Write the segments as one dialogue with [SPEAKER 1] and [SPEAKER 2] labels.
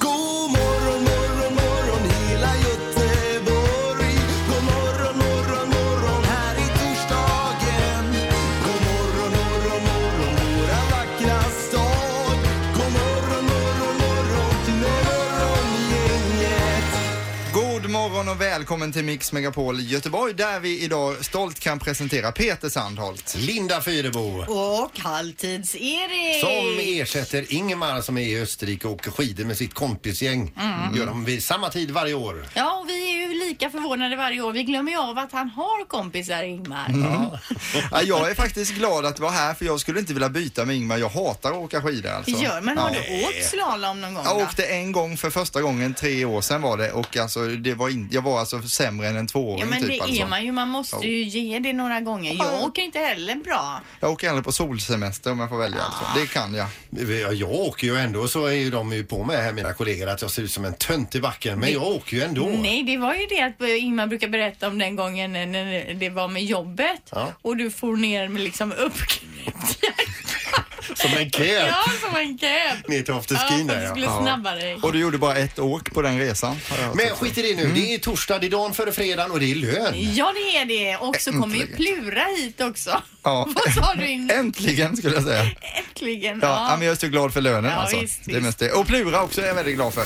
[SPEAKER 1] God morgon, morgon, morgon hela Göteborg. God morgon, morgon, morgon här i torsdagen. God morgon, morgon, morgon våra vackra stad. God morgon, morgon, morgon till morgongänget.
[SPEAKER 2] God morgon och välkommen till Mix Megapol Göteborg där vi idag stolt kan presentera Peter Sandholt.
[SPEAKER 3] Linda Fyrebo
[SPEAKER 4] Och halvtids-Erik!
[SPEAKER 3] som ersätter Ingemar som är i Österrike och åker skidor med sitt kompisgäng.
[SPEAKER 4] Mm.
[SPEAKER 3] Gör de vid samma tid varje år.
[SPEAKER 4] Ja, och vi är ju lika förvånade varje år. Vi glömmer ju av att han har kompisar, Ingmar.
[SPEAKER 2] Mm.
[SPEAKER 4] Mm.
[SPEAKER 2] alltså. Ja, jag är faktiskt glad att vara här för jag skulle inte vilja byta med Ingmar. Jag hatar att åka skidor alltså.
[SPEAKER 4] Gör, men har
[SPEAKER 2] Ja.
[SPEAKER 4] du åkt slalom någon gång
[SPEAKER 2] Jag
[SPEAKER 4] då?
[SPEAKER 2] åkte en gång för första gången tre år sedan var det och alltså det var in, jag var alltså sämre än en tvååring
[SPEAKER 4] Ja men
[SPEAKER 2] typ
[SPEAKER 4] det
[SPEAKER 2] alltså.
[SPEAKER 4] är man ju, man måste ju ge det några gånger. Jag åker inte heller bra.
[SPEAKER 2] Jag åker hellre på solsemester om jag får välja alltså. Det kan jag.
[SPEAKER 3] Ja, Jag åker ju ändå så är ju de ju på mig här mina kollegor att jag ser ut som en tönt i backen. Men jag åker ju ändå.
[SPEAKER 4] Nej, det var ju det att Ingmar brukar berätta om den gången när- när det var med jobbet
[SPEAKER 3] Ja.
[SPEAKER 4] och du for ner med liksom uppknäppt jacka.
[SPEAKER 3] Som en kär.
[SPEAKER 4] Ja, som en cap.
[SPEAKER 3] Ner till
[SPEAKER 4] Ja, för
[SPEAKER 3] afterskin där
[SPEAKER 4] att du
[SPEAKER 3] ja.
[SPEAKER 4] skulle snabba dig.
[SPEAKER 2] Och du gjorde bara ett åk på den resan. har jag hört.
[SPEAKER 3] Men skit i det
[SPEAKER 2] Mm.
[SPEAKER 3] nu. Det är torsdag, det är dagen före fredagen och det är lön.
[SPEAKER 4] Ja, det är det. Och så kommer ju Plura hit också.
[SPEAKER 2] Ja.
[SPEAKER 4] Vad sa du innan?
[SPEAKER 2] Äntligen skulle jag säga.
[SPEAKER 4] Äntligen.
[SPEAKER 2] Ja, ja. men jag är så glad för lönen
[SPEAKER 4] Ja,
[SPEAKER 2] alltså.
[SPEAKER 4] visst,
[SPEAKER 2] det är
[SPEAKER 4] visst.
[SPEAKER 2] mest det. Och Plura också är jag väldigt glad för.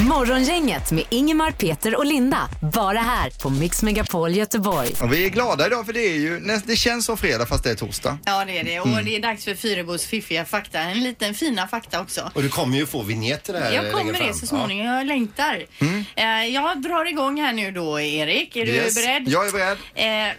[SPEAKER 5] Morgongänget med Ingemar, Peter och Linda. Bara här på Mix Megapol Göteborg.
[SPEAKER 2] Och vi är glada idag för det är ju, näst- det känns som fredag fast det är torsdag.
[SPEAKER 4] Ja, det är det. Och
[SPEAKER 2] Mm.
[SPEAKER 4] det är dags för Fyrebos fiffiga fakta. En liten fina fakta också.
[SPEAKER 3] Och du kommer ju få vignetter här
[SPEAKER 2] eh,
[SPEAKER 4] Jag kommer
[SPEAKER 3] längre fram.
[SPEAKER 4] det så småningom. Jag längtar. Eh, Jag drar igång här nu då, Erik. Är
[SPEAKER 2] Mm. Yes.
[SPEAKER 4] du beredd?
[SPEAKER 2] Jag är beredd.
[SPEAKER 4] Eh,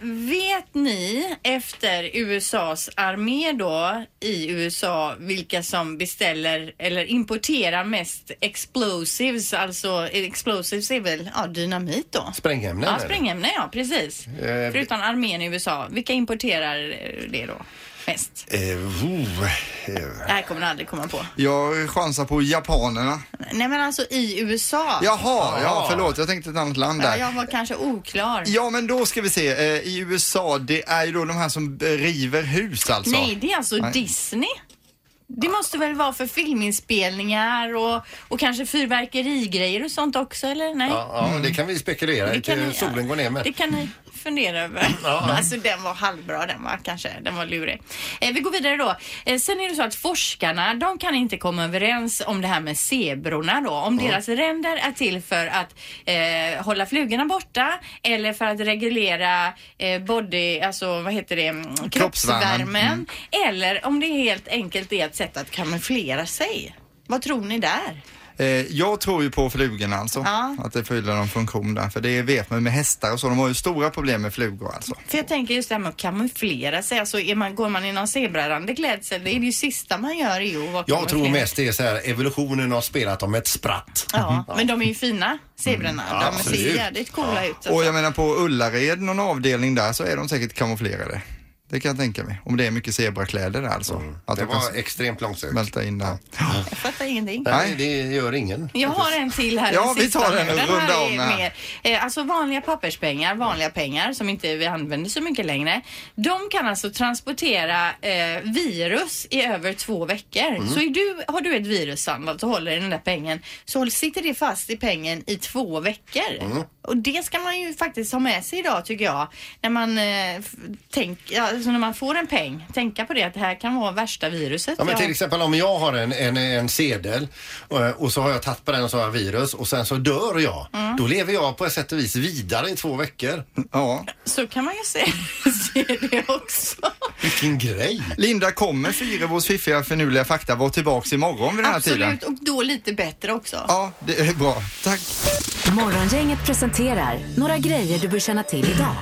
[SPEAKER 4] vet ni efter USAs armé då i USA vilka som beställer eller importerar mest explosives? Alltså explosives är väl ja, dynamit då?
[SPEAKER 3] Sprängämnen,
[SPEAKER 4] Ja,
[SPEAKER 3] eller?
[SPEAKER 4] sprängämnen ja, precis.
[SPEAKER 3] Eh,
[SPEAKER 4] Förutom armén i USA. Vilka importerar eh, det då mest?
[SPEAKER 3] Eh, oh, eh.
[SPEAKER 4] Det här kommer du aldrig komma på.
[SPEAKER 2] Jag chansar på japanerna.
[SPEAKER 4] Nej men alltså i USA.
[SPEAKER 2] Jaha, ja förlåt jag tänkte ett annat land
[SPEAKER 4] Ja,
[SPEAKER 2] där.
[SPEAKER 4] jag var kanske oklar.
[SPEAKER 2] Ja men då ska vi se, Eh, i USA det är ju då de här som eh, river hus alltså.
[SPEAKER 4] Nej, det är alltså
[SPEAKER 2] Nej.
[SPEAKER 4] Disney. Det måste väl vara för filminspelningar och, och kanske fyrverkerigrejer och sånt också, eller? Nej?
[SPEAKER 3] Ja, ja, det kan vi spekulera i till solen går ner med.
[SPEAKER 4] Det kan ni fundera över. Alltså den var halvbra den var kanske. Den var lurig. Eh, vi går vidare då. Eh, sen är det så att forskarna, de kan inte komma överens om det här med zebrorna då. Om deras ränder är till för att eh, hålla flugorna borta eller för att reglera eh, body, alltså vad heter det, Mm, kroppsvärmen.
[SPEAKER 2] Mm.
[SPEAKER 4] Eller om det helt enkelt är ett sätt att kamouflera sig. Vad tror ni där?
[SPEAKER 2] Eh, jag tror ju på flugorna alltså.
[SPEAKER 4] Ja.
[SPEAKER 2] Att det fyller någon funktion där. För det vet man ju med hästar och så, de har ju stora problem med flugor alltså.
[SPEAKER 4] För jag tänker just det här med att kamouflera sig. Alltså är man, går man i någon zebrarande klädsel, det är det ju sista man gör i att vara
[SPEAKER 3] Jag tror
[SPEAKER 4] kamouflerad.
[SPEAKER 3] mest det är så här, evolutionen har spelat om ett spratt.
[SPEAKER 2] Mm.
[SPEAKER 4] Ja, men de är ju fina, zebrorna.
[SPEAKER 3] Ja,
[SPEAKER 4] de ser
[SPEAKER 3] absolut.
[SPEAKER 4] jävligt coola ut.
[SPEAKER 2] Och
[SPEAKER 4] Alltså.
[SPEAKER 2] jag menar på Ullared, någon avdelning där, så är de säkert kamouflerade. Det kan jag tänka mig. Om det är mycket zebrakläder där alltså. Att
[SPEAKER 3] Mm. Det
[SPEAKER 2] de kan
[SPEAKER 3] var extremt långsökt.
[SPEAKER 2] smälta in där.
[SPEAKER 4] Jag fattar ingenting.
[SPEAKER 3] Nej, det gör ingen.
[SPEAKER 4] Jag har en till här.
[SPEAKER 2] Ja,
[SPEAKER 4] den
[SPEAKER 2] vi
[SPEAKER 4] sista
[SPEAKER 2] tar
[SPEAKER 4] nu.
[SPEAKER 2] den och
[SPEAKER 4] här
[SPEAKER 2] rundar om
[SPEAKER 4] är
[SPEAKER 2] här.
[SPEAKER 4] mer- eh, Alltså vanliga papperspengar, vanliga pengar som inte vi använder så mycket längre. De kan alltså transportera eh, virus i över två veckor.
[SPEAKER 2] Mm.
[SPEAKER 4] Så är du, har du ett virus samlat och håller i den där pengen så håll- sitter det fast i pengen i två veckor.
[SPEAKER 2] Mm.
[SPEAKER 6] Mm.
[SPEAKER 4] Och det ska man ju faktiskt ha med sig idag tycker jag. När man, eh, f- tänk, ja, alltså när man får en peng, tänka på det att det här kan vara värsta viruset.
[SPEAKER 3] Ja, men
[SPEAKER 4] jag
[SPEAKER 3] till
[SPEAKER 4] har.
[SPEAKER 3] exempel om jag har en, en, en sedel eh, och så har jag tagit på den och så har jag virus och sen så dör jag. Då lever jag på ett sätt och vis vidare i två veckor.
[SPEAKER 2] Ja.
[SPEAKER 4] Så kan man ju se, se det också.
[SPEAKER 3] Vilken grej!
[SPEAKER 2] Linda, kommer Fyrebos fiffiga förnuliga fakta vara tillbaks imorgon vid den här tiden?
[SPEAKER 4] Absolut, och då lite bättre också.
[SPEAKER 2] Ja, det är bra. Tack.
[SPEAKER 5] Morgongänget presenterar några grejer du bör känna till idag.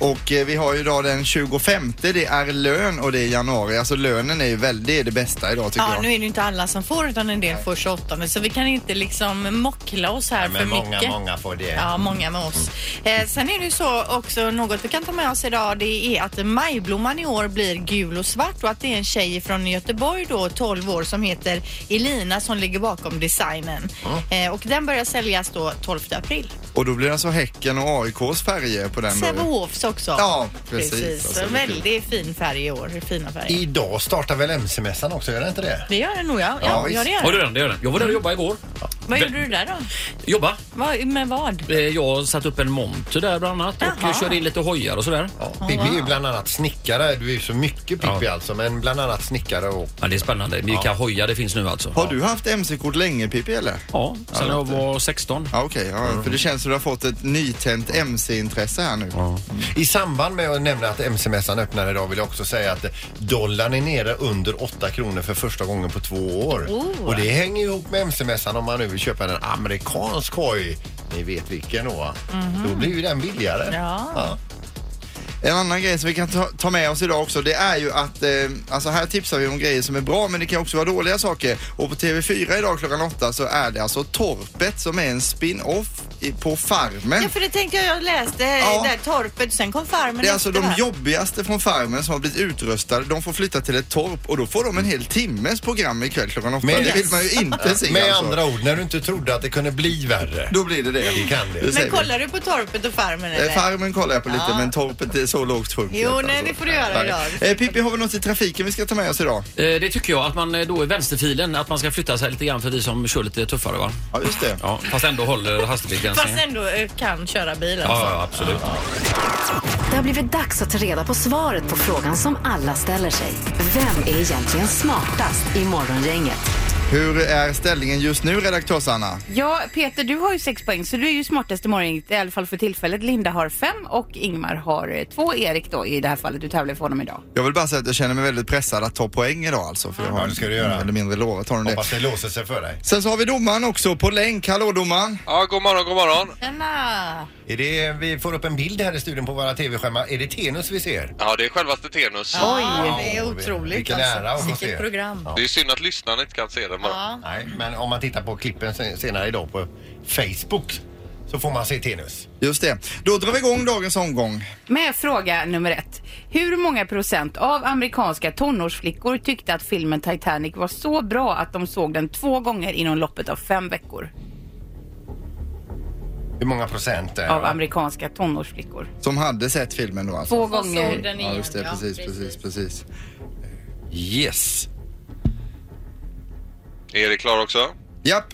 [SPEAKER 2] Och eh, vi har ju idag den 25, det är lön och det är januari. Alltså lönen är ju väldigt, det är det bästa idag tycker
[SPEAKER 4] Ja,
[SPEAKER 2] jag.
[SPEAKER 4] nu är det inte alla som får utan en del får 28 så vi kan inte liksom mockla oss här för
[SPEAKER 3] Men många,
[SPEAKER 4] mycket.
[SPEAKER 3] många får det.
[SPEAKER 4] Ja, många med oss. Eh, sen är det ju så också något vi kan ta med oss idag det är att majblomman i år blir gul och svart och att det är en tjej från Göteborg då, 12 år, som heter Elina som ligger bakom designen. Eh, och den börjar säljas då 12 april.
[SPEAKER 2] Och då blir det alltså Häcken och AIKs färger på den. då.
[SPEAKER 4] Sävehofs också.
[SPEAKER 2] Ja, precis. Alltså,
[SPEAKER 4] precis.
[SPEAKER 2] det är
[SPEAKER 4] Väldigt fin färg i år. Fina färger.
[SPEAKER 3] Idag startar väl MC-mässan också, gör det inte det?
[SPEAKER 4] Det gör den nog ja.
[SPEAKER 2] Ja,
[SPEAKER 4] Ja, ja
[SPEAKER 2] visst.
[SPEAKER 4] det gör
[SPEAKER 7] Ja,
[SPEAKER 4] den.
[SPEAKER 7] det gör den, det gör den. Jag var där och jobbade igår.
[SPEAKER 4] Vad gjorde du där då?
[SPEAKER 7] Jobba.
[SPEAKER 4] Vad, med vad?
[SPEAKER 7] Eh, Jag satte upp en monter där bland annat och eh,
[SPEAKER 4] Jaha.
[SPEAKER 7] körde in lite hojar och sådär. Ja.
[SPEAKER 3] Pippi är ju bland annat snickare. Du är ju så mycket Pippi
[SPEAKER 7] Ja.
[SPEAKER 3] alltså, men bland annat snickare och...
[SPEAKER 7] det är spännande. Vilka hojar det finns nu alltså.
[SPEAKER 2] Har du haft MC-kort länge Pippi eller?
[SPEAKER 7] Ja, sen jag var Mm. 16.
[SPEAKER 2] Ja okej, ja, för det känns som du har fått ett nytänt MC-intresse här nu.
[SPEAKER 3] I samband med att nämna att MC-mässan öppnar idag vill jag också säga att dollarn är nere under 8 kronor för första gången på två år.
[SPEAKER 4] Oh.
[SPEAKER 3] Och det hänger ju ihop med MC-mässan om man nu vill köpa en amerikansk hoj. Ni vet vilken då? va? Då blir ju den billigare.
[SPEAKER 4] Mhm. Ja.
[SPEAKER 2] En annan grej som vi kan ta, ta med oss idag också det är ju att eh, alltså här tipsar vi om grejer som är bra men det kan också vara dåliga saker. Och på TV4 idag klockan åtta så är det alltså Torpet som är en spin-off i, på Farmen.
[SPEAKER 4] Ja, för det tänkte jag, jag läste
[SPEAKER 2] Ja.
[SPEAKER 4] där torpet, sen kom farmen
[SPEAKER 2] Det är alltså
[SPEAKER 4] efter,
[SPEAKER 2] de
[SPEAKER 4] va?
[SPEAKER 2] jobbigaste från Farmen som har blivit utröstade. De får flytta till ett torp och då får de en hel timmes program ikväll klockan åtta.
[SPEAKER 3] Men-
[SPEAKER 2] det vill man ju inte se
[SPEAKER 3] Med
[SPEAKER 2] alltså.
[SPEAKER 3] andra ord, när du inte trodde att det kunde bli värre.
[SPEAKER 2] Då blir det det.
[SPEAKER 3] Det kan det.
[SPEAKER 2] Det
[SPEAKER 4] Men
[SPEAKER 2] säger vi.
[SPEAKER 4] kollar du på torpet och farmen eller?
[SPEAKER 2] Eh, Farmen kollar jag på lite men torpet är så lågt sjunket.
[SPEAKER 4] Jo, nej, det får du göra
[SPEAKER 2] Nej.
[SPEAKER 4] idag.
[SPEAKER 2] Eh, Pippi, har vi något i trafiken vi ska ta med oss idag?
[SPEAKER 7] Eh, Det tycker jag att man eh, då i vänsterfilen, att man ska flytta sig lite grann för vi som kör lite tuffare va.
[SPEAKER 2] Ja, just det.
[SPEAKER 7] Ja, fast ändå håller
[SPEAKER 4] Fast
[SPEAKER 7] hastighetsbegränsningen.
[SPEAKER 4] ändå eh, kan köra bil alltså.
[SPEAKER 7] Ja, ja, absolut.
[SPEAKER 5] Det har blivit dags att ta reda på svaret på frågan som alla ställer sig. Vem är egentligen smartast i Morgongänget?
[SPEAKER 2] Hur är ställningen just nu, redaktör Sanna?
[SPEAKER 8] Ja, Peter, du har ju sex poäng så du är ju smartast i morgon, i alla fall för tillfället. Linda har fem och Ingmar har eh, två. Erik då i det här fallet, du tävlar ju för honom idag.
[SPEAKER 2] Jag vill bara säga att jag känner mig väldigt pressad att ta poäng idag alltså. För jag har
[SPEAKER 3] Ja, det ska du göra.
[SPEAKER 2] Eller mindre lovat har du det.
[SPEAKER 3] Hoppas det låser sig för dig.
[SPEAKER 2] Sen så har vi domaren också på länk. Hallå domaren!
[SPEAKER 9] Ja, god morgon, god morgon.
[SPEAKER 4] Tjena!
[SPEAKER 3] Är det, vi får upp en bild här i studion på våra tv-skärmar. Är det Tenus vi ser?
[SPEAKER 9] Ja, det är självaste Tenus.
[SPEAKER 4] Ja, det är otroligt
[SPEAKER 3] vilken
[SPEAKER 4] alltså.
[SPEAKER 3] ära att få se.
[SPEAKER 4] Vilket program.
[SPEAKER 9] Det är synd att lyssnarna inte kan se den bara.
[SPEAKER 4] Ja.
[SPEAKER 3] Nej, men om man tittar på klippen sen- senare idag på Facebook så får man se Tenus.
[SPEAKER 2] Just det. Då drar vi igång dagens omgång.
[SPEAKER 8] Med fråga nummer ett. Hur många procent av amerikanska tonårsflickor tyckte att filmen Titanic var så bra att de såg den två gånger inom loppet av fem veckor?
[SPEAKER 3] Hur många procent? eh,
[SPEAKER 8] Av amerikanska tonårsflickor.
[SPEAKER 2] Som hade sett filmen då alltså.
[SPEAKER 8] Två
[SPEAKER 4] Och så
[SPEAKER 8] gånger.
[SPEAKER 4] den
[SPEAKER 2] Ja,
[SPEAKER 4] igen.
[SPEAKER 2] just det.
[SPEAKER 4] Ja,
[SPEAKER 2] Precis, precis, precis.
[SPEAKER 3] Yes.
[SPEAKER 9] Är det klar också?
[SPEAKER 2] Japp,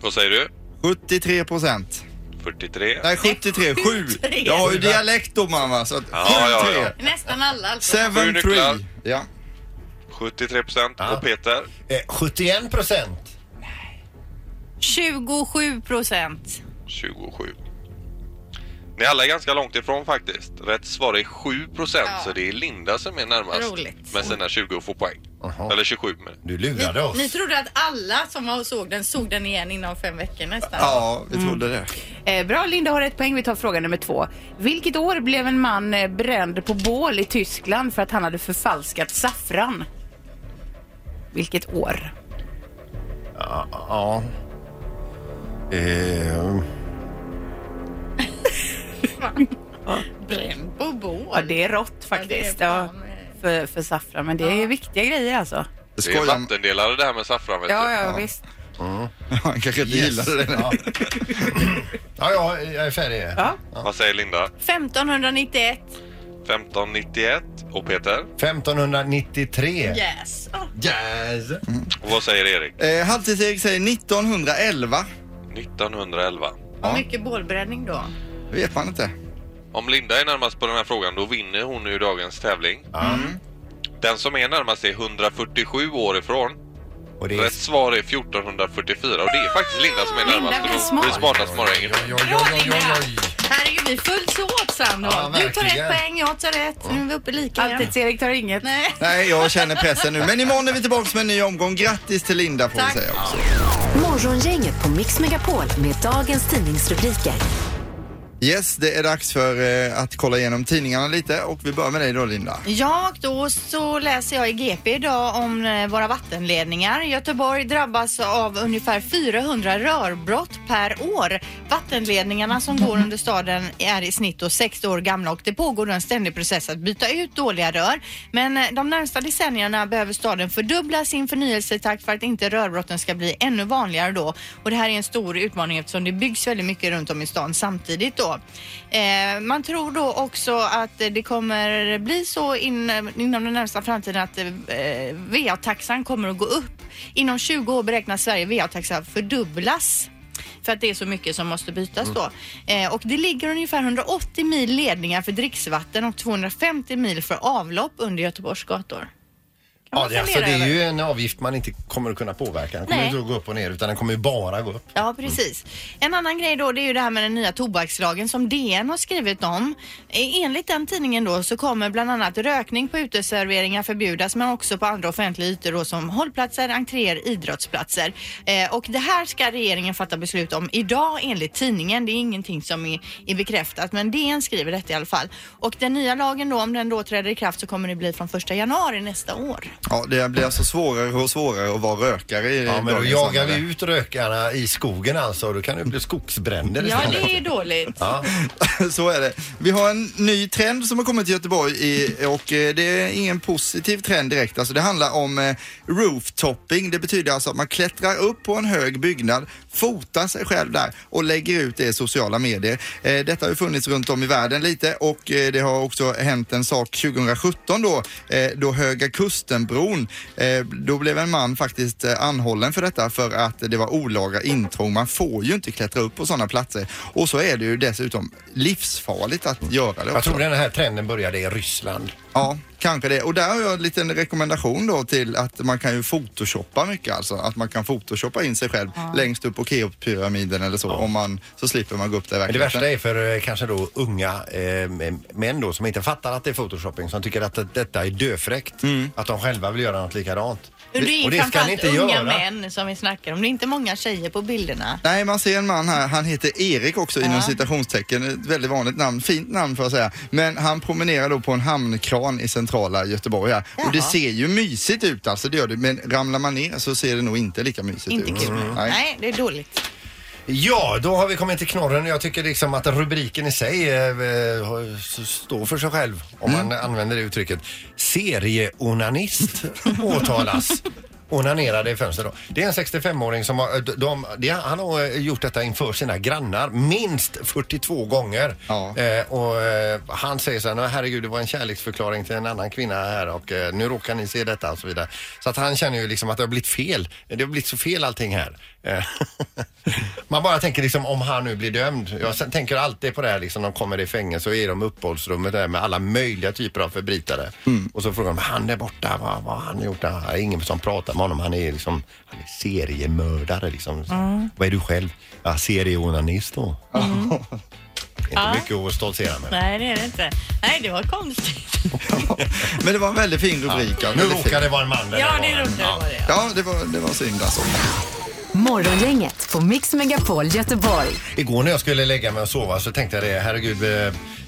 [SPEAKER 9] Vad säger du?
[SPEAKER 2] 73 procent.
[SPEAKER 9] 43?
[SPEAKER 2] Nej, 73. 7. Jag har ju dialekt domaren va. Så att
[SPEAKER 9] Ja, ja,
[SPEAKER 2] 73.
[SPEAKER 9] ja.
[SPEAKER 4] Nästan alla alltså.
[SPEAKER 2] 7,
[SPEAKER 9] Sju
[SPEAKER 2] 3.
[SPEAKER 9] nycklar.
[SPEAKER 2] Ja.
[SPEAKER 9] 73 procent.
[SPEAKER 3] Ja.
[SPEAKER 9] Och Peter?
[SPEAKER 3] Eh, 71 procent.
[SPEAKER 4] 27 procent.
[SPEAKER 9] 27. Ni alla är ganska långt ifrån faktiskt. Rätt svar är 7 procent, så det är Linda som är närmast.
[SPEAKER 4] Roligt.
[SPEAKER 9] Med sina 20 och får poäng.
[SPEAKER 3] Jaha.
[SPEAKER 9] Eller 27 men.
[SPEAKER 3] Du lurade oss.
[SPEAKER 4] Ni trodde att alla som var och såg den såg den igen inom fem veckor nästan.
[SPEAKER 2] ja, vi trodde det.
[SPEAKER 8] Eh, bra, Linda har ett poäng. Vi tar fråga nummer två. Vilket år blev en man eh, bränd på bål i Tyskland för att han hade förfalskat saffran? Vilket år?
[SPEAKER 3] Ja. Eh,
[SPEAKER 4] Bränd på bål.
[SPEAKER 8] Ja, det är rått faktiskt.
[SPEAKER 4] Ja, det är
[SPEAKER 8] Ja,
[SPEAKER 4] fan, eh.
[SPEAKER 8] för, för saffran, men det är viktiga grejer alltså.
[SPEAKER 2] Det
[SPEAKER 9] Det är
[SPEAKER 2] skojar
[SPEAKER 9] vattendelare det här med saffran vet
[SPEAKER 8] Ja,
[SPEAKER 9] du.
[SPEAKER 8] ja, visst.
[SPEAKER 2] Han kanske inte
[SPEAKER 3] yes.
[SPEAKER 2] gillade det.
[SPEAKER 3] Ja. ja, ja, jag är färdig.
[SPEAKER 8] Ja.
[SPEAKER 9] Vad säger Linda?
[SPEAKER 4] 1591.
[SPEAKER 9] 1591. Och Peter?
[SPEAKER 3] 1593.
[SPEAKER 4] Yes. Ah,
[SPEAKER 3] Yes.
[SPEAKER 9] Och vad säger Erik?
[SPEAKER 2] Eh, Halvtids-Erik säger 1911.
[SPEAKER 9] 1911.
[SPEAKER 4] Vad mycket bålbränning då.
[SPEAKER 2] Det vet man inte.
[SPEAKER 9] Om Linda är närmast på den här frågan då vinner hon nu dagens tävling.
[SPEAKER 3] Mm.
[SPEAKER 9] Den som är närmast är 147 år ifrån.
[SPEAKER 3] Och det är...
[SPEAKER 9] Rätt svar är 1444 och det är faktiskt Linda som är
[SPEAKER 8] Linda
[SPEAKER 9] närmast.
[SPEAKER 8] blir
[SPEAKER 9] Hon
[SPEAKER 8] smart.
[SPEAKER 9] blir smartast morgon.
[SPEAKER 3] Oj, oj, oj, oj, oj.
[SPEAKER 4] Här är ju vi fullt så åt Sandra.
[SPEAKER 3] Ja,
[SPEAKER 4] du tar
[SPEAKER 3] verkligen.
[SPEAKER 4] ett poäng, jag tar ett. Nu är vi uppe lika igen.
[SPEAKER 8] Alltid Erik tar inget.
[SPEAKER 4] Nej.
[SPEAKER 2] Nej, jag känner pressen nu. Men imorgon är vi tillbaka med en ny omgång. Grattis till Linda får
[SPEAKER 4] Tack.
[SPEAKER 2] vi säga också.
[SPEAKER 5] Morgongänget på Mix Megapol med dagens tidningsrubriker.
[SPEAKER 2] Yes, det är dags för eh, att kolla igenom tidningarna lite och vi börjar med dig då Linda.
[SPEAKER 4] Ja, och då så läser jag i GP idag om eh, våra vattenledningar. Göteborg drabbas av ungefär 400 rörbrott per år. Vattenledningarna som går under staden är i snitt då 60 år gamla och det pågår då en ständig process att byta ut dåliga rör. Men eh, de närmsta decennierna behöver staden fördubbla sin förnyelsetakt för att inte rörbrotten ska bli ännu vanligare då. Och det här är en stor utmaning eftersom det byggs väldigt mycket runt om i stan samtidigt då. Eh, man tror då också att eh, det kommer bli så in, inom den närmsta framtiden att eh, VA-taxan kommer att gå upp. Inom 20 år beräknas Sverige VA-taxa fördubblas för att det är så mycket som måste bytas då. Eh, och det ligger ungefär 180 mil ledningar för dricksvatten och 250 mil för avlopp under Göteborgs gator.
[SPEAKER 3] Ja, det, alltså, det
[SPEAKER 4] fundera
[SPEAKER 3] är ju en avgift man inte kommer att kunna påverka. Den kommer
[SPEAKER 4] Nej.
[SPEAKER 3] inte att gå upp och ner utan den kommer ju bara gå upp.
[SPEAKER 4] Ja, precis. En annan grej då, det är ju det här med den nya tobakslagen som DN har skrivit om. Eh, Enligt den tidningen då så kommer bland annat rökning på uteserveringar förbjudas men också på andra offentliga ytor då som hållplatser, entréer, idrottsplatser. Eh, och det här ska regeringen fatta beslut om idag enligt tidningen. Det är ingenting som är, är bekräftat men DN skriver detta i alla fall. Och den nya lagen då, om den då träder i kraft så kommer det bli från 1 januari nästa år.
[SPEAKER 2] Ja, det blir alltså svårare och svårare att vara rökare i
[SPEAKER 3] Ja, men då
[SPEAKER 2] dagens
[SPEAKER 3] jagar vi
[SPEAKER 2] samhälle.
[SPEAKER 3] ut rökarna i skogen alltså och då kan det bli skogsbränder
[SPEAKER 4] Ja,
[SPEAKER 3] istället.
[SPEAKER 4] det är dåligt.
[SPEAKER 3] Ja.
[SPEAKER 2] Så är det. Vi har en ny trend som har kommit till Göteborg i, och eh, det är ingen positiv trend direkt. Alltså det handlar om eh, rooftopping. Det betyder alltså att man klättrar upp på en hög byggnad, fotar sig själv där och lägger ut det i sociala medier. Eh, Detta har ju funnits runt om i världen lite och eh, det har också hänt en sak 2017 då, eh, då Höga Kustenbron, eh, då blev en man faktiskt eh, anhållen för detta för att det var olaga intrång. Man får ju inte klättra upp på sådana platser och så är det ju dessutom livsfarligt att göra det
[SPEAKER 3] Jag tror
[SPEAKER 2] också.
[SPEAKER 3] den här trenden började i Ryssland.
[SPEAKER 2] Ja, kanske det. Och där har jag en liten rekommendation då till att man kan ju photoshoppa mycket alltså. Att man kan photoshoppa in sig själv längst upp på Keops-pyramiden eller så. Om man, så slipper man gå upp där i
[SPEAKER 3] Men det
[SPEAKER 2] verkligheten.
[SPEAKER 3] värsta är för eh, kanske då unga eh, män då som inte fattar att det är photoshopping som tycker att det- detta är döfräckt. Att de själva vill göra något likadant.
[SPEAKER 4] Det är det
[SPEAKER 3] och det ska
[SPEAKER 4] framförallt
[SPEAKER 3] ni inte
[SPEAKER 4] unga
[SPEAKER 3] göra.
[SPEAKER 4] män som vi snackar om. Det är inte många tjejer på bilderna.
[SPEAKER 2] Nej, man ser en man här. Han heter Erik också inom citationstecken. Ett väldigt vanligt namn. Fint namn får jag säga. Men han promenerar då på en hamnkran i centrala Göteborg här. Och det
[SPEAKER 4] Jaha.
[SPEAKER 2] ser ju mysigt ut alltså, det gör det. Men ramlar man ner så ser det nog inte lika mysigt ut.
[SPEAKER 4] Inte kul.
[SPEAKER 2] Mm. Nej.
[SPEAKER 4] Nej, det är dåligt.
[SPEAKER 3] Ja, då har vi kommit till knorren. Jag tycker liksom att rubriken i sig eh, eh, har- s- står för sig själv om man använder det uttrycket. Serieonanist åtalas. Onanerade i fönster då. Det är en 65-åring som har, eh, de, de, det- han har eh, gjort detta inför sina grannar minst 42 gånger. Eh, och eh, han säger så här, "Nå, herregud det var en kärleksförklaring till en annan kvinna här och eh, nu råkar ni se detta och så vidare. Så att han känner ju liksom att det har blivit fel. Det har blivit så fel allting här. Eh, Man bara tänker liksom om han nu blir dömd. Jag sen- tänker alltid på det här liksom, de kommer i fängelse och är de i uppehållsrummet där med alla möjliga typer av förbrytare. Och så frågar de, han är borta, vad, vad har han gjort? där? Det är ingen som pratar med honom, han är liksom, han är seriemördare liksom. Så,
[SPEAKER 10] Mm.
[SPEAKER 3] Vad är du själv? Ja, serieonanist då. Inte
[SPEAKER 4] Mm. Ja.
[SPEAKER 3] mycket att stoltsera med.
[SPEAKER 4] Nej, det är det inte. Nej, det var konstigt.
[SPEAKER 2] Men det var en väldigt fin rubrik. Ja.
[SPEAKER 3] Nu råkar det vara en man.
[SPEAKER 4] Ja, det råkade det vara det.
[SPEAKER 2] Ja, det var, det var synd alltså.
[SPEAKER 5] Morgongänget på Mix Megapol Göteborg.
[SPEAKER 3] Igår när jag skulle lägga mig och sova så tänkte jag det, herregud, eh,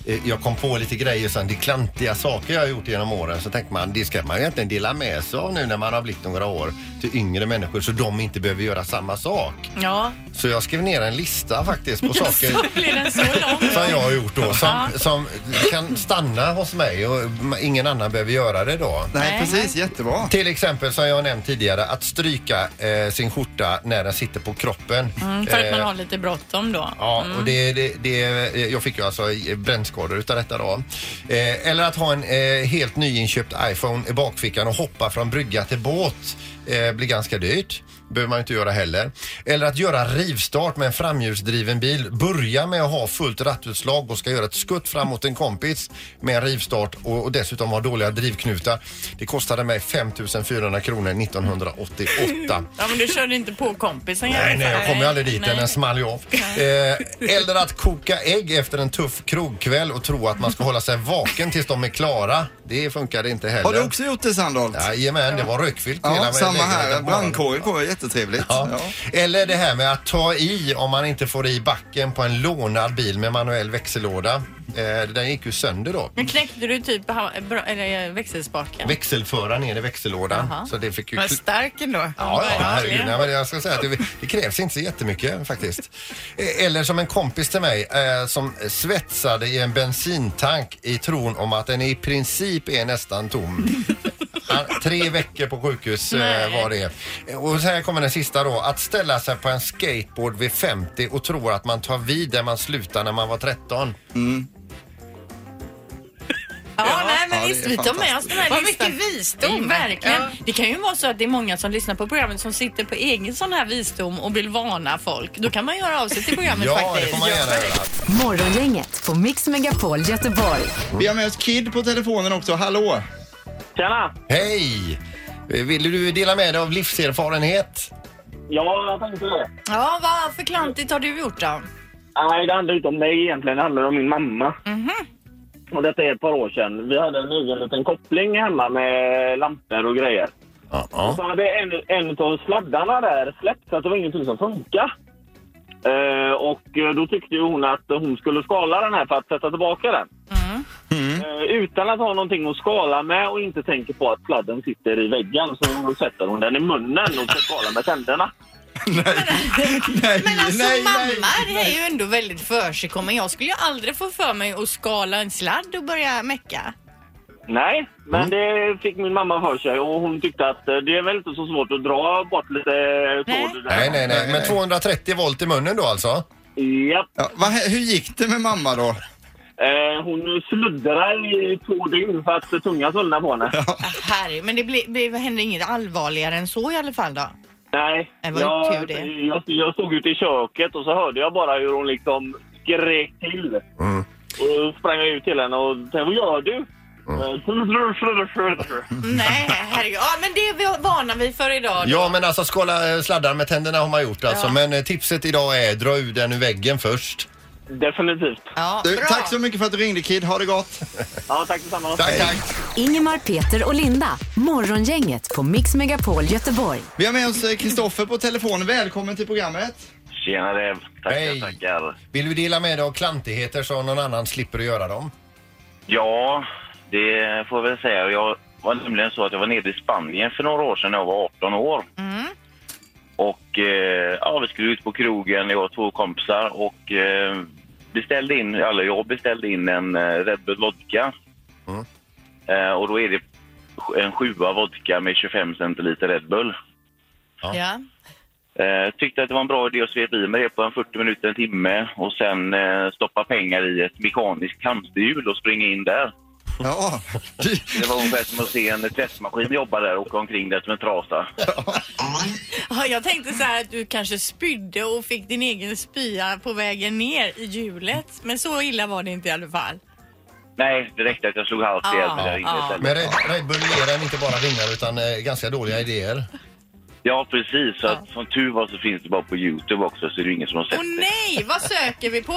[SPEAKER 3] eh, jag kom på lite grejer sen, det är klantiga saker jag har gjort genom åren. Så tänkte man, det ska man ju egentligen dela med sig av nu när man har blivit några år till yngre människor så de inte behöver göra samma sak.
[SPEAKER 4] Ja.
[SPEAKER 3] Så jag skrev ner en lista faktiskt på saker
[SPEAKER 4] Blev den så lång?
[SPEAKER 3] som jag har gjort då som,
[SPEAKER 4] Ja.
[SPEAKER 3] som kan stanna hos mig och ingen annan behöver göra det då.
[SPEAKER 2] Nej, precis. Jättebra.
[SPEAKER 3] Till exempel som jag har nämnt tidigare att stryka eh, sin skjorta när den sitter på kroppen.
[SPEAKER 4] Mm, för att man
[SPEAKER 3] Eh,
[SPEAKER 4] har lite bråttom då.
[SPEAKER 3] Ja,
[SPEAKER 4] Mm.
[SPEAKER 3] och det, det, det, jag fick ju alltså brännskador utav detta då. Eh, eller att ha en eh, helt nyinköpt iPhone i bakfickan och hoppa från brygga till båt eh, blir ganska dyrt. behöver man ju inte göra heller. Eller att göra rivstart med en framhjulsdriven bil. Börja med att ha fullt rattutslag och ska göra ett skutt fram mot en kompis med en rivstart och, och dessutom ha dåliga drivknutar. Det kostade mig 5 400 kronor 1988.
[SPEAKER 4] Ja, men du körde inte på kompisen i
[SPEAKER 3] Nej,
[SPEAKER 4] alla
[SPEAKER 3] nej,
[SPEAKER 4] fall.
[SPEAKER 3] jag kommer ju aldrig dit.
[SPEAKER 4] Nej.
[SPEAKER 3] Den small ju av. Eh, eller att koka ägg efter en tuff krogkväll. kväll och tro att man ska hålla sig vaken tills de är klara. Det funkade inte heller.
[SPEAKER 2] Har du också gjort det Sandholt?
[SPEAKER 3] Jajamän, det var rökfyllt
[SPEAKER 2] Ja,
[SPEAKER 3] hela
[SPEAKER 2] samma
[SPEAKER 3] lägenheten
[SPEAKER 2] här.
[SPEAKER 3] på morgonen.
[SPEAKER 2] Brandkåren kommer, jättetrevligt.
[SPEAKER 3] Ja.
[SPEAKER 2] Ja.
[SPEAKER 3] Eller det här med att ta i om man inte får i backen på en lånad bil med manuell växellåda. Eh, den gick ju sönder då.
[SPEAKER 4] Men knäckte du typ ha- bra- eller, eh, växelspaken?
[SPEAKER 3] Växelföraren ner i växellådan.
[SPEAKER 4] Jaha.
[SPEAKER 3] Så det fick ju
[SPEAKER 4] Vad
[SPEAKER 3] kli-
[SPEAKER 4] stark ändå.
[SPEAKER 3] Ja, ja, herregud. Nej, men jag ska säga att det, det krävs inte så jättemycket faktiskt. Eh, Eller som en kompis till mig eh, som svetsade i en bensintank i tron om att den i princip är nästan tom. Han, tre veckor på sjukhus eh, var det. Eh, Och så här kommer den sista då. Att ställa sig på en skateboard vid 50 och tro att man tar vid där man slutade när man var 13.
[SPEAKER 2] Mm.
[SPEAKER 4] Ja, nej,
[SPEAKER 3] Ja,
[SPEAKER 4] men
[SPEAKER 3] det
[SPEAKER 4] visst,
[SPEAKER 3] är
[SPEAKER 4] vi tar med oss den här
[SPEAKER 8] Vad
[SPEAKER 4] listan.
[SPEAKER 8] mycket visdom.
[SPEAKER 4] Mm, verkligen.
[SPEAKER 8] Ja.
[SPEAKER 4] Det kan ju vara så att det är många som lyssnar på programmet som sitter på egen sån här visdom och vill varna folk. Då kan man göra av sig till programmet
[SPEAKER 2] Ja, det
[SPEAKER 4] faktiskt.
[SPEAKER 2] får man gärna
[SPEAKER 4] Ja.
[SPEAKER 2] göra.
[SPEAKER 5] Morgongänget på Mix Megapol Göteborg.
[SPEAKER 2] Vi har med oss Kid på telefonen också. Hallå!
[SPEAKER 10] Tjena!
[SPEAKER 3] Hej! Eh, Vill du dela med dig av livserfarenhet?
[SPEAKER 10] Ja, jag tänkte det.
[SPEAKER 4] Ja, vad för klantigt har du gjort då?
[SPEAKER 10] Nej, det handlar inte om mig egentligen. Det handlar om min mamma. Och detta är ett par år sedan. Vi hade en egen liten koppling hemma med lampor och grejer. Och så hade en, en av sladdarna där släppt så att det var ingenting som funkade. Eh, och eh, då tyckte ju hon att hon skulle skala den här för att sätta tillbaka den. Eh, utan att ha någonting att skala med och inte tänker på att sladden sitter i väggen så sätter hon den i munnen och ska skala med tänderna.
[SPEAKER 4] Men alltså
[SPEAKER 10] nej,
[SPEAKER 4] mamma är ju ändå väldigt försigkommen. Jag skulle ju aldrig få för mig att skala en sladd och börja mecka.
[SPEAKER 10] Nej,
[SPEAKER 3] Mm.
[SPEAKER 10] men det fick min mamma för sig och hon tyckte att eh, det är väl inte så svårt att dra bort lite tråd. där. Eh,
[SPEAKER 3] Nej, nej, nej. Men 230 volt i munnen då alltså?
[SPEAKER 10] Japp.
[SPEAKER 2] Ja, vad hä- hur gick det med mamma då?
[SPEAKER 10] Eh, hon sluddrar i två dygn för att tungan svullnade på henne.
[SPEAKER 4] Harry, men det, blir, det händer inget allvarligare än så i alla fall då?
[SPEAKER 10] Nej,
[SPEAKER 4] Det var ju tur
[SPEAKER 10] jag,
[SPEAKER 4] det.
[SPEAKER 10] jag, jag stod ute i köket och så hörde jag bara hur hon liksom skrek till. Och då sprang jag ut till henne och tänkte, vad gör du? Eh, Mm.
[SPEAKER 4] Nej, herregud. Ja, men det vi- varnar vi för idag då.
[SPEAKER 3] Ja, men alltså skala eh, sladdar med tänderna har man gjort alltså.
[SPEAKER 4] Ja.
[SPEAKER 3] Men eh, tipset idag är dra ur den ur väggen först.
[SPEAKER 10] Definitivt.
[SPEAKER 4] Ja,
[SPEAKER 2] Du, tack så mycket för att du ringde Kid. Ha det gott!
[SPEAKER 10] Ja, tack detsamma.
[SPEAKER 2] Tack, tack.
[SPEAKER 5] Ingemar, Peter och Linda. Morgongänget på Mix Megapol Göteborg.
[SPEAKER 2] Vi har med oss eh, Kristoffer på telefonen. Välkommen till programmet.
[SPEAKER 10] Tjenare.
[SPEAKER 3] Tackar, tackar. Vill du dela med dig av klantigheter så någon annan slipper att göra dem?
[SPEAKER 11] Ja, det får jag väl säga. Jag var nämligen så att jag var nere i Spanien för några år sedan när jag var 18 år. Och eh, ja, vi skulle ut på krogen, jag och två kompisar och eh, beställde in, eller jag beställde in en eh, Red Bull vodka. Eh, och då är det en sjua vodka med 25 centiliter Red Bull.
[SPEAKER 4] Ja.
[SPEAKER 11] Eh, tyckte att det var en bra idé att svepa i mig det på en 40 minuter, en timme och sen eh, stoppa pengar i ett mekaniskt hamsterhjul och springa in där.
[SPEAKER 2] Ja.
[SPEAKER 11] Det var ungefär som att se en tvättmaskin jobba där och åka omkring där som en trasa.
[SPEAKER 4] Ja, jag tänkte så här att du kanske spydde och fick din egen spya på vägen ner i hjulet. Men så illa var det inte i alla fall.
[SPEAKER 11] Nej, det räckte att jag slog halvt ihjäl mig
[SPEAKER 4] Ja,
[SPEAKER 11] där inne
[SPEAKER 4] ja.
[SPEAKER 11] istället.
[SPEAKER 3] Men Red, Red Bull ger en inte bara vingar utan eh, ganska dåliga idéer.
[SPEAKER 11] Ja, precis. Så att, som tur var så finns det bara på Youtube också så det är ingen som har sett
[SPEAKER 4] Ah. Åh
[SPEAKER 11] det.
[SPEAKER 4] nej, vad söker vi på?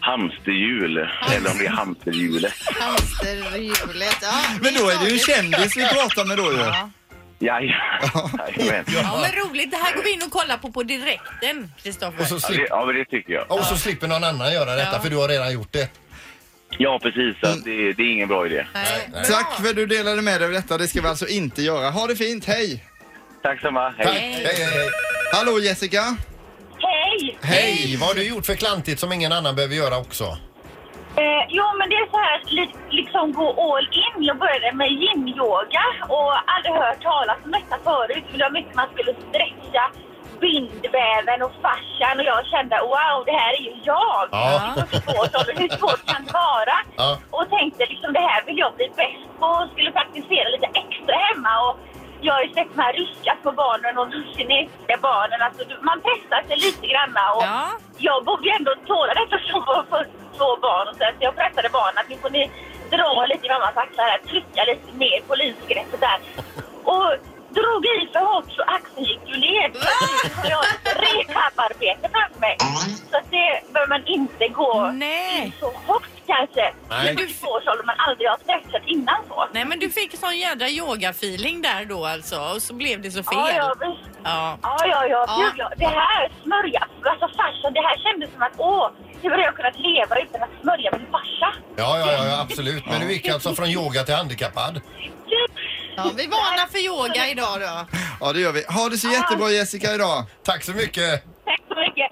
[SPEAKER 11] Hamsterhjul, eller om det är hamsterhjulet.
[SPEAKER 4] Hamsterhjulet, ja.
[SPEAKER 2] Men då är det ju en kändis vi pratar med då ju.
[SPEAKER 4] Ja.
[SPEAKER 11] Ja, ja. Jajamän.
[SPEAKER 4] Ja, men roligt. Det här går vi in och kollar på på direkten, Kristoffer.
[SPEAKER 3] Och så
[SPEAKER 11] Ja, det-
[SPEAKER 3] slipper,
[SPEAKER 11] ja, men det tycker jag.
[SPEAKER 3] och så slipper någon annan göra detta
[SPEAKER 4] Ja.
[SPEAKER 3] för du har redan gjort det.
[SPEAKER 11] Ja, precis. Så att det, det är ingen bra idé.
[SPEAKER 2] Tack för att du delade med dig av detta. Det ska vi alltså inte göra. Ha det fint. Hej!
[SPEAKER 11] Tack samma. Hej.
[SPEAKER 2] Hallå Jessica!
[SPEAKER 12] Hej!
[SPEAKER 3] Hej! Vad har du gjort för klantigt som ingen annan behöver göra också?
[SPEAKER 12] Eh, jo, men det är så här, li- liksom gå all in. Jag började med yin-yoga och aldrig hört talas om detta förut. För det var mycket man skulle stretcha bindväven och fascian och jag kände wow, det här är ju jag.
[SPEAKER 1] Ja.
[SPEAKER 12] Det är så svårt, och hur svårt kan det vara?
[SPEAKER 1] Ja.
[SPEAKER 12] Och tänkte liksom det här vill jag bli bäst på och skulle praktisera lite extra hemma. Och jag har ju sett de här ryska på barnen och de kinesiska barnen. Alltså, du- man testar sig lite grann. Och Jag borde ju ändå tåla detta som var för två barn. Och så att jag pressade barnen att nu får ni dra lite i mammas axlar här, trycka lite mer på linsgreppet där. Och då drog i för hårt så axeln gick ju led. Så att Jag har rehabarbete framför mig. Så att det bör man inte gå in så hårt kanske.
[SPEAKER 4] Nej.
[SPEAKER 12] Men du får så man aldrig har stressat innan så.
[SPEAKER 4] Nej men du fick sån jädra yoga-feeling där då alltså och så blev det så fel.
[SPEAKER 12] Ja, ja,
[SPEAKER 4] ja.
[SPEAKER 12] Ja, ja, ja. Gud, ja. Det här smörja. Alltså farsan, det här kändes som att åh, hur har jag kunnat leva utan att smörja min farsa?
[SPEAKER 3] Ja, ja, ja, ja, absolut. Men du gick alltså från yoga till handikappad.
[SPEAKER 4] Ja, vi varnar för yoga idag då.
[SPEAKER 2] Ja, det gör vi. Ha det så jättebra Jessica idag.
[SPEAKER 3] Tack så mycket.
[SPEAKER 12] Tack så mycket.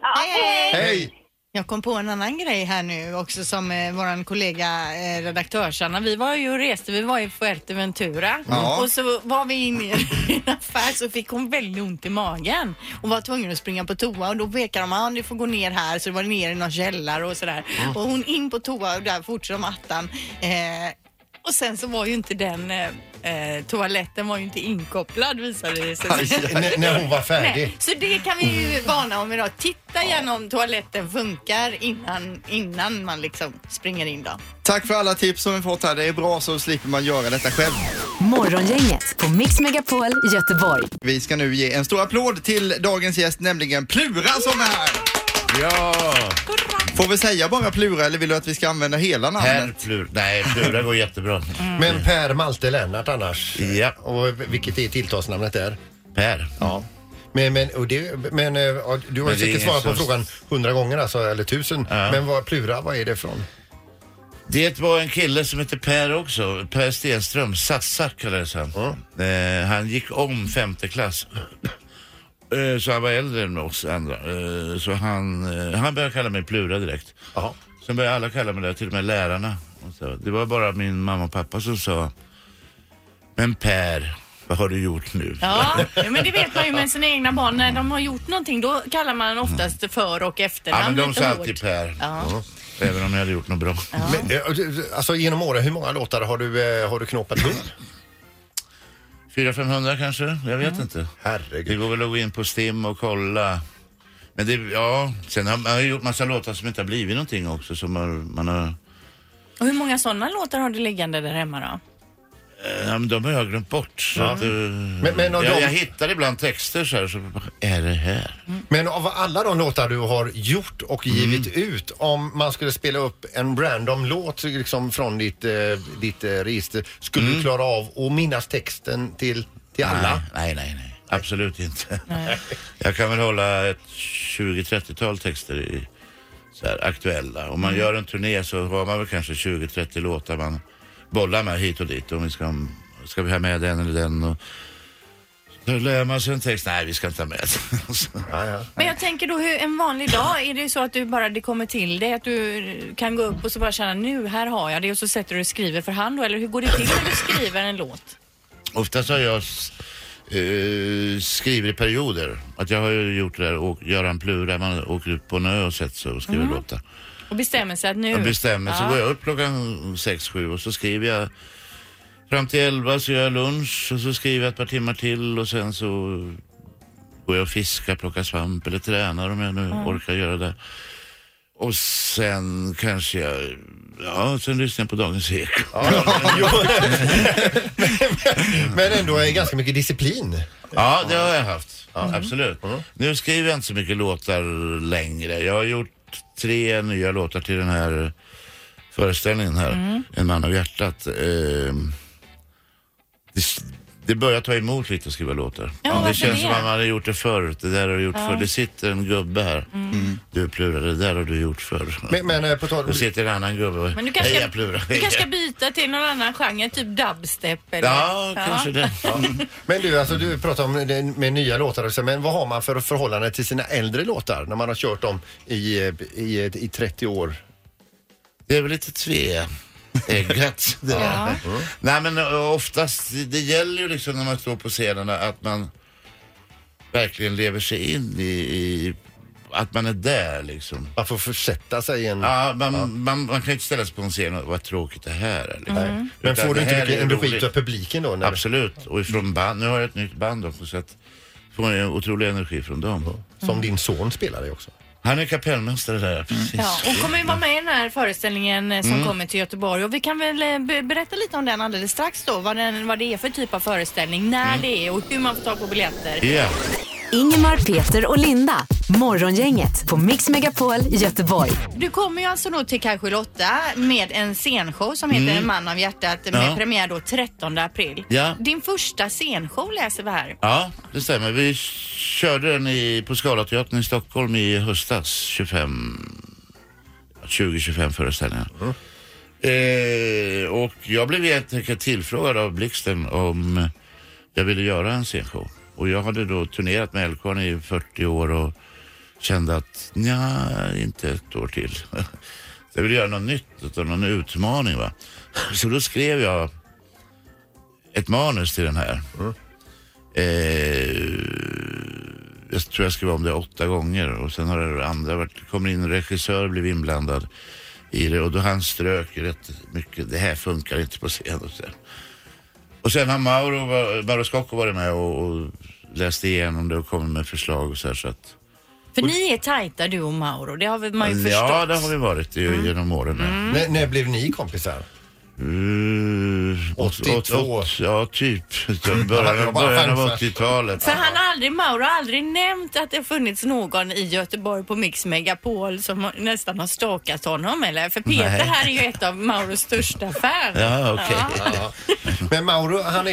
[SPEAKER 3] Hej!
[SPEAKER 13] Jag kom på en annan grej här nu också som eh, vår kollega eh, redaktörs-Anna. Vi var ju och reste, vi var i Fuerteventura
[SPEAKER 4] Ja.
[SPEAKER 13] och så var vi inne i en affär så fick hon väldigt ont i magen och var tvungen att springa på toa och då pekade de att ah, du får gå ner här så det var ner i någon källare och sådär.
[SPEAKER 4] Mm.
[SPEAKER 13] Och hon in på toa och där fort som attan. Eh, och sen så var ju inte den eh, eh, toaletten var ju inte inkopplad visade det sig.
[SPEAKER 3] N- när hon var färdig.
[SPEAKER 13] Nej, så det kan vi ju varna om idag. Titta gärna om toaletten funkar innan, innan man liksom springer in då.
[SPEAKER 2] Tack för alla tips som vi fått här. Det är bra så slipper man göra detta själv.
[SPEAKER 5] Morgongänget på Mix Megapol Göteborg.
[SPEAKER 2] Vi ska nu ge en stor applåd till dagens gäst, nämligen Plura som är här.
[SPEAKER 6] Ja!
[SPEAKER 2] Får vi säga bara Plura eller vill du att vi ska använda hela
[SPEAKER 6] Per
[SPEAKER 2] namnet?
[SPEAKER 6] Plur. Nej, Plura går jättebra.
[SPEAKER 3] Mm. Men Per Malte Lennart annars.
[SPEAKER 6] Ja.
[SPEAKER 3] Och vilket är tilltalsnamnet där? Per. Ja. Men, men, och det, men eh, ja, du har
[SPEAKER 6] Men det
[SPEAKER 3] ju
[SPEAKER 6] är
[SPEAKER 3] säkert
[SPEAKER 6] ingen
[SPEAKER 3] svarat på
[SPEAKER 6] som-
[SPEAKER 3] frågan hundra gånger alltså, eller tusen. Men vad, Plura, vad är det från?
[SPEAKER 6] Det var en kille som hette Per också, Per Stenström, Sassa kallades han. Eh, han gick om femte klass. Eh, Så han var äldre än oss andra. Eh, Så han, eh, han började kalla mig Plura direkt. Sen började alla kalla mig det, till och med lärarna. Och så. Det var bara min mamma och pappa som sa Men Per, vad har du gjort nu?
[SPEAKER 4] Ja, men det vet man ju med sina egna barn. När de har gjort någonting då kallar man oftast för och efternamn.
[SPEAKER 6] Mm. Ja, men de typ-
[SPEAKER 4] lite
[SPEAKER 6] sa
[SPEAKER 4] hårt.
[SPEAKER 6] alltid Per.
[SPEAKER 4] Ja.
[SPEAKER 6] Även om jag hade gjort något bra.
[SPEAKER 3] Mm. Men, eh, alltså genom åren, hur många låtar har du, eh, har du knåpat ihop?
[SPEAKER 6] 400-500 kanske? Jag
[SPEAKER 3] Mm.
[SPEAKER 6] vet inte.
[SPEAKER 3] Herregud.
[SPEAKER 6] Det går väl att gå in på Stim och kolla. Men det, ja, sen har man har ju gjort massa låtar som inte har blivit någonting också. Som har, man har,
[SPEAKER 4] Och hur många sådana låtar har du liggande där hemma då?
[SPEAKER 6] eh, ja, men de har jag glömt bort. Så
[SPEAKER 3] Ja.
[SPEAKER 6] att, eh,
[SPEAKER 3] men av
[SPEAKER 6] jag,
[SPEAKER 3] dem-
[SPEAKER 6] jag hittar ibland texter så här, så vad är det här?
[SPEAKER 3] Men av alla de låtar du har gjort och
[SPEAKER 6] Mm.
[SPEAKER 3] givit ut, om man skulle spela upp en random låt liksom, från ditt, eh, ditt eh, register, skulle du klara av att minnas texten till, till alla?
[SPEAKER 6] Mm. Nej, nej, nej. Absolut inte. Jag kan väl hålla ett 20-30-tal texter i, så här, aktuella. Om man
[SPEAKER 3] Mm.
[SPEAKER 6] gör en turné så har man väl kanske 20-30 låtar man bollar med hit och dit. Om vi ska, ska vi ha med den eller den? Och, då lär man sig en text. Nej, vi ska inte ha med den. Alltså, Så-
[SPEAKER 4] Men jag tänker då hur en vanlig dag, är det ju så att du bara det kommer till dig att du kan gå upp och så bara känna nu här har jag det och så sätter du och skriver för hand då eller hur går det till när du skriver en låt?
[SPEAKER 6] Oftast har jag uh, skriver i perioder. Att jag har ju gjort det där, och Göran Plura, man åker ut på en ö och sätter sig och skriver
[SPEAKER 4] Mm.
[SPEAKER 6] låtar.
[SPEAKER 4] Och bestämmer sig att nu...
[SPEAKER 6] Jag bestämmer så
[SPEAKER 4] Ja.
[SPEAKER 6] går jag upp klockan sex sju och så skriver jag fram till elva så gör jag lunch och så skriver jag ett par timmar till och sen så går jag och fiskar, plockar svamp eller tränar om jag nu
[SPEAKER 14] Mm.
[SPEAKER 6] orkar göra det. Och sen kanske jag, ja sen lyssnar jag på Dagens Eko.
[SPEAKER 3] Men ändå är ganska mycket disciplin.
[SPEAKER 6] Ja, det har jag haft. Ja, Absolut. Nu skriver jag inte så mycket låtar längre. Jag har gjort tre nya låtar till den här föreställningen här.
[SPEAKER 14] Mm.
[SPEAKER 6] En man av hjärtat. Ehm, det, s- det börjar ta emot lite att skriva låtar.
[SPEAKER 14] Ja,
[SPEAKER 6] det
[SPEAKER 14] varför
[SPEAKER 6] känns
[SPEAKER 14] det?
[SPEAKER 6] som att man hade gjort det förr. Det där har du gjort
[SPEAKER 3] Ja.
[SPEAKER 6] förr. Det sitter en gubbe här. Du Plura, det där har du gjort förr.
[SPEAKER 3] Mm. Men, men eh, på tal
[SPEAKER 6] Då sitter en annan gubbe och
[SPEAKER 4] Men du kanske-
[SPEAKER 6] heja Plura.
[SPEAKER 4] Du kanske ska byta till någon annan genre, typ dubstep eller?
[SPEAKER 6] Ja, kanske det.
[SPEAKER 3] Men du, alltså, du pratar om det med nya låtar och så, men vad har man för förhållande till sina äldre låtar när man har kört dem i, eh, i, eh, i 30 år?
[SPEAKER 6] Det är väl lite tve. Äggat. Det där.
[SPEAKER 3] Ja.
[SPEAKER 6] Nej men ö, oftast, det- det gäller ju liksom när man står på scenerna att man verkligen lever sig in i, i att man är där liksom.
[SPEAKER 3] Man får försätta sig i en...
[SPEAKER 6] Ja, man, Man, man kan ju inte ställa sig på en scen och vad tråkigt det här är. Liksom.
[SPEAKER 3] Nej. Men får du inte mycket energi av publiken då? När
[SPEAKER 6] Absolut, och ifrån band. Nu har jag ett nytt band också så att får jag otrolig energi från dem.
[SPEAKER 3] Som din son spelade också.
[SPEAKER 6] Han är kapellmästare där, ja, precis.
[SPEAKER 4] Ja, hon kommer ju vara med i den här föreställningen eh, som
[SPEAKER 6] Mm.
[SPEAKER 4] kommer till Göteborg och vi kan väl eh, be- berätta lite om den alldeles strax då. Vad, den, vad det är för typ av föreställning, när
[SPEAKER 5] Mm.
[SPEAKER 4] det är och hur man får tag på biljetter.
[SPEAKER 5] Ingemar, Peter och Linda. Morgongänget på Mix Megapol Göteborg.
[SPEAKER 4] Du kommer ju alltså då till Kajskjul 8 med en scenshow som heter
[SPEAKER 5] Mm.
[SPEAKER 4] En man av hjärtat med
[SPEAKER 6] Ja.
[SPEAKER 4] premiär då 13 april.
[SPEAKER 6] Ja.
[SPEAKER 4] Din första scenshow läser vi här.
[SPEAKER 6] Ja, det stämmer. Vi körde den i, på Scalateatern i Stockholm i höstas, 25, 20-25 föreställningar. Eh, och jag blev helt enkelt tillfrågad av Blixten om jag ville göra en scenshow. Och jag hade då turnerat med Elkhorn i 40 år och kände att nja, inte ett år till. jag ville göra något nytt, utan någon utmaning. Va? Så då skrev jag ett manus till den här. Eh, jag tror jag skrev om det åtta gånger och sen har det andra varit, det kommer in en regissör blev inblandad i det och då han strök rätt mycket. Det här funkar inte på scen och sen. Och sen har Mauro, var- Mauro Scocco varit med och, och läste igenom det och kommit med förslag och så här så att.
[SPEAKER 4] För ni är tajta du och Mauro, det har väl man ju förstått.
[SPEAKER 6] Ja, det har vi varit ju, genom åren.
[SPEAKER 4] Mm.
[SPEAKER 3] När, när blev ni kompisar?
[SPEAKER 6] Uh,
[SPEAKER 3] 82.
[SPEAKER 6] Ja, typ. Början,
[SPEAKER 3] bara
[SPEAKER 6] början av
[SPEAKER 3] chansat.
[SPEAKER 6] 80-talet.
[SPEAKER 4] För han har aldrig, Mauro har aldrig nämnt att det har funnits någon i Göteborg på Mix Megapol som har- nästan har stalkat honom eller? För Peter
[SPEAKER 3] Nej.
[SPEAKER 4] här är ju ett av Mauros största fans. Ja.
[SPEAKER 3] Men Mauro, han är,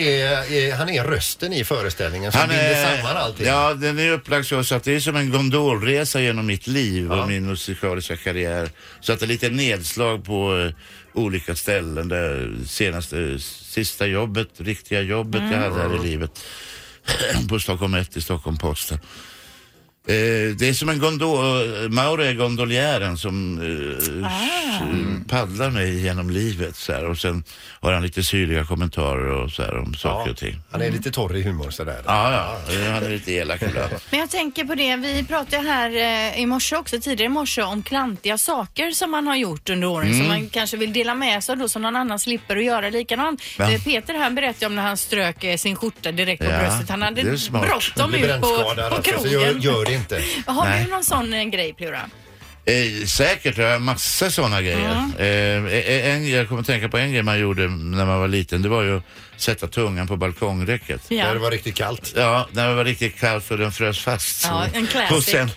[SPEAKER 3] är, han är rösten i föreställningen som binder samman allting.
[SPEAKER 6] Ja, den är upplagd så så att det är som en gondolresa genom mitt liv och min musikaliska karriär. Så att det är lite nedslag på eh, olika ställen. Där senaste, sista jobbet, riktiga jobbet jag hade här i livet. på Stockholm 1 i Stockholm Posten. Eh, det är som en gondol... Mauro är gondoljären som eh,
[SPEAKER 4] Ah.
[SPEAKER 6] s- paddlar mig genom livet så här. och sen har han lite syrliga kommentarer och så här om saker och ting.
[SPEAKER 3] Han är lite torr i humor sådär.
[SPEAKER 6] Ja, ja, han är lite elak ibland.
[SPEAKER 4] Men jag tänker på det, vi pratade här eh, i morse också, tidigare i morse, om klantiga saker som man har gjort under åren
[SPEAKER 6] Mm.
[SPEAKER 4] som man kanske vill dela med sig av då som någon annan slipper att göra likadant.
[SPEAKER 6] Va?
[SPEAKER 4] Eh, Peter här berättade om när han strök eh, sin skjorta direkt på
[SPEAKER 6] Ja,
[SPEAKER 4] bröstet. Han hade
[SPEAKER 6] det är smart.
[SPEAKER 4] bråttom
[SPEAKER 6] Det är
[SPEAKER 4] ut på,
[SPEAKER 6] brännskadad
[SPEAKER 4] på
[SPEAKER 6] alltså,
[SPEAKER 4] krogen.
[SPEAKER 6] så gör- gör det inte.
[SPEAKER 4] Har
[SPEAKER 6] Nej.
[SPEAKER 4] du någon sån eh, grej Plura?
[SPEAKER 6] Eh, säkert, jag har massa sådana grejer. Eh, en, jag kommer att tänka på en grej man gjorde när man var liten. Det var ju att sätta tungan på balkongräcket.
[SPEAKER 4] Ja. När det var
[SPEAKER 3] riktigt kallt.
[SPEAKER 6] Ja, när det var riktigt kallt och den frös fast.
[SPEAKER 4] Ja, en classic.
[SPEAKER 6] Och sen,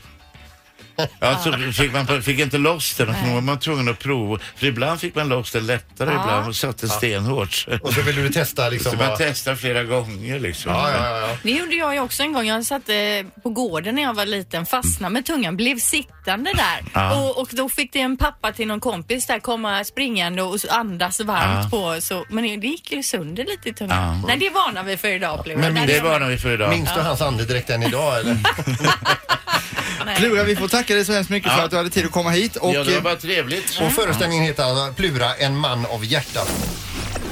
[SPEAKER 6] ja, så fick man fick inte loss den. Man var man tvungen att prova. För ibland fick man loss den lättare,
[SPEAKER 3] Ja.
[SPEAKER 6] ibland och satt den
[SPEAKER 3] Ja.
[SPEAKER 6] stenhårt.
[SPEAKER 3] Och så ville du testa liksom
[SPEAKER 6] Så man
[SPEAKER 3] vad-
[SPEAKER 6] testar flera gånger liksom.
[SPEAKER 3] Ja, ja, ja,
[SPEAKER 4] Det gjorde jag ju också en gång. Jag satt eh, på gården när jag var liten, fastnade med tungan, blev sittande där.
[SPEAKER 6] Ja.
[SPEAKER 4] Och, och då fick det en pappa till någon kompis där komma springande och så andas varmt
[SPEAKER 6] Ja.
[SPEAKER 4] på. Så, men det gick ju sönder lite i tungan.
[SPEAKER 6] Ja.
[SPEAKER 4] Nej, det varnar vi för idag Plura.
[SPEAKER 6] Men
[SPEAKER 4] Där
[SPEAKER 6] det
[SPEAKER 4] är man-
[SPEAKER 6] varnar vi för idag.
[SPEAKER 3] Minns du hans andedräkt än idag eller?
[SPEAKER 2] Plura, vi får tacka dig så hemskt mycket för att du hade tid att komma hit. Och,
[SPEAKER 3] Ja, det var
[SPEAKER 2] eh,
[SPEAKER 3] bara
[SPEAKER 6] trevligt.
[SPEAKER 3] Och föreställningen heter alltså Plura, en man av hjärtat.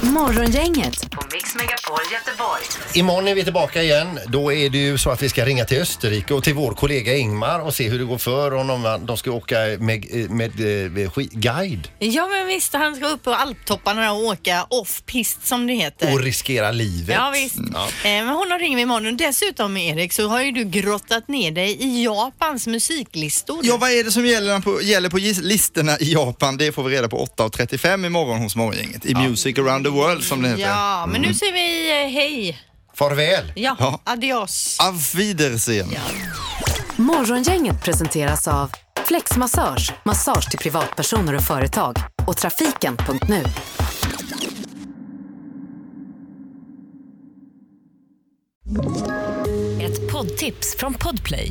[SPEAKER 5] Morgongänget på Mix Megapol Göteborg.
[SPEAKER 3] Imorgon är vi tillbaka igen. Då är det ju så att vi ska ringa till Österrike och till vår kollega Ingmar och se hur det går för honom. De ska åka med, med, eh, ski- guide
[SPEAKER 4] Ja men visst, han ska upp på alptopparna och åka off-pist som det heter.
[SPEAKER 3] och riskera livet.
[SPEAKER 4] Ja, visst.
[SPEAKER 3] Ja.
[SPEAKER 4] Eh, Men honom ringer vi imorgon. Och Dessutom Erik så har ju du grottat ner dig i Japans musiklistor.
[SPEAKER 2] Ja, vad är det som gäller på, gäller på gis- listorna i Japan? Det får vi reda på 8.35 imorgon hos Morgongänget. I Music around the world som det heter.
[SPEAKER 4] Ja, men nu
[SPEAKER 2] Mm.
[SPEAKER 4] säger vi eh, hej.
[SPEAKER 3] Farväl.
[SPEAKER 4] Ja,
[SPEAKER 2] Ja.
[SPEAKER 4] adios.
[SPEAKER 2] Auf Wiedersehen.
[SPEAKER 5] Morgongänget presenteras av Flexmassage, massage till privatpersoner och företag och trafiken.nu.
[SPEAKER 14] Ett poddtips från Podplay.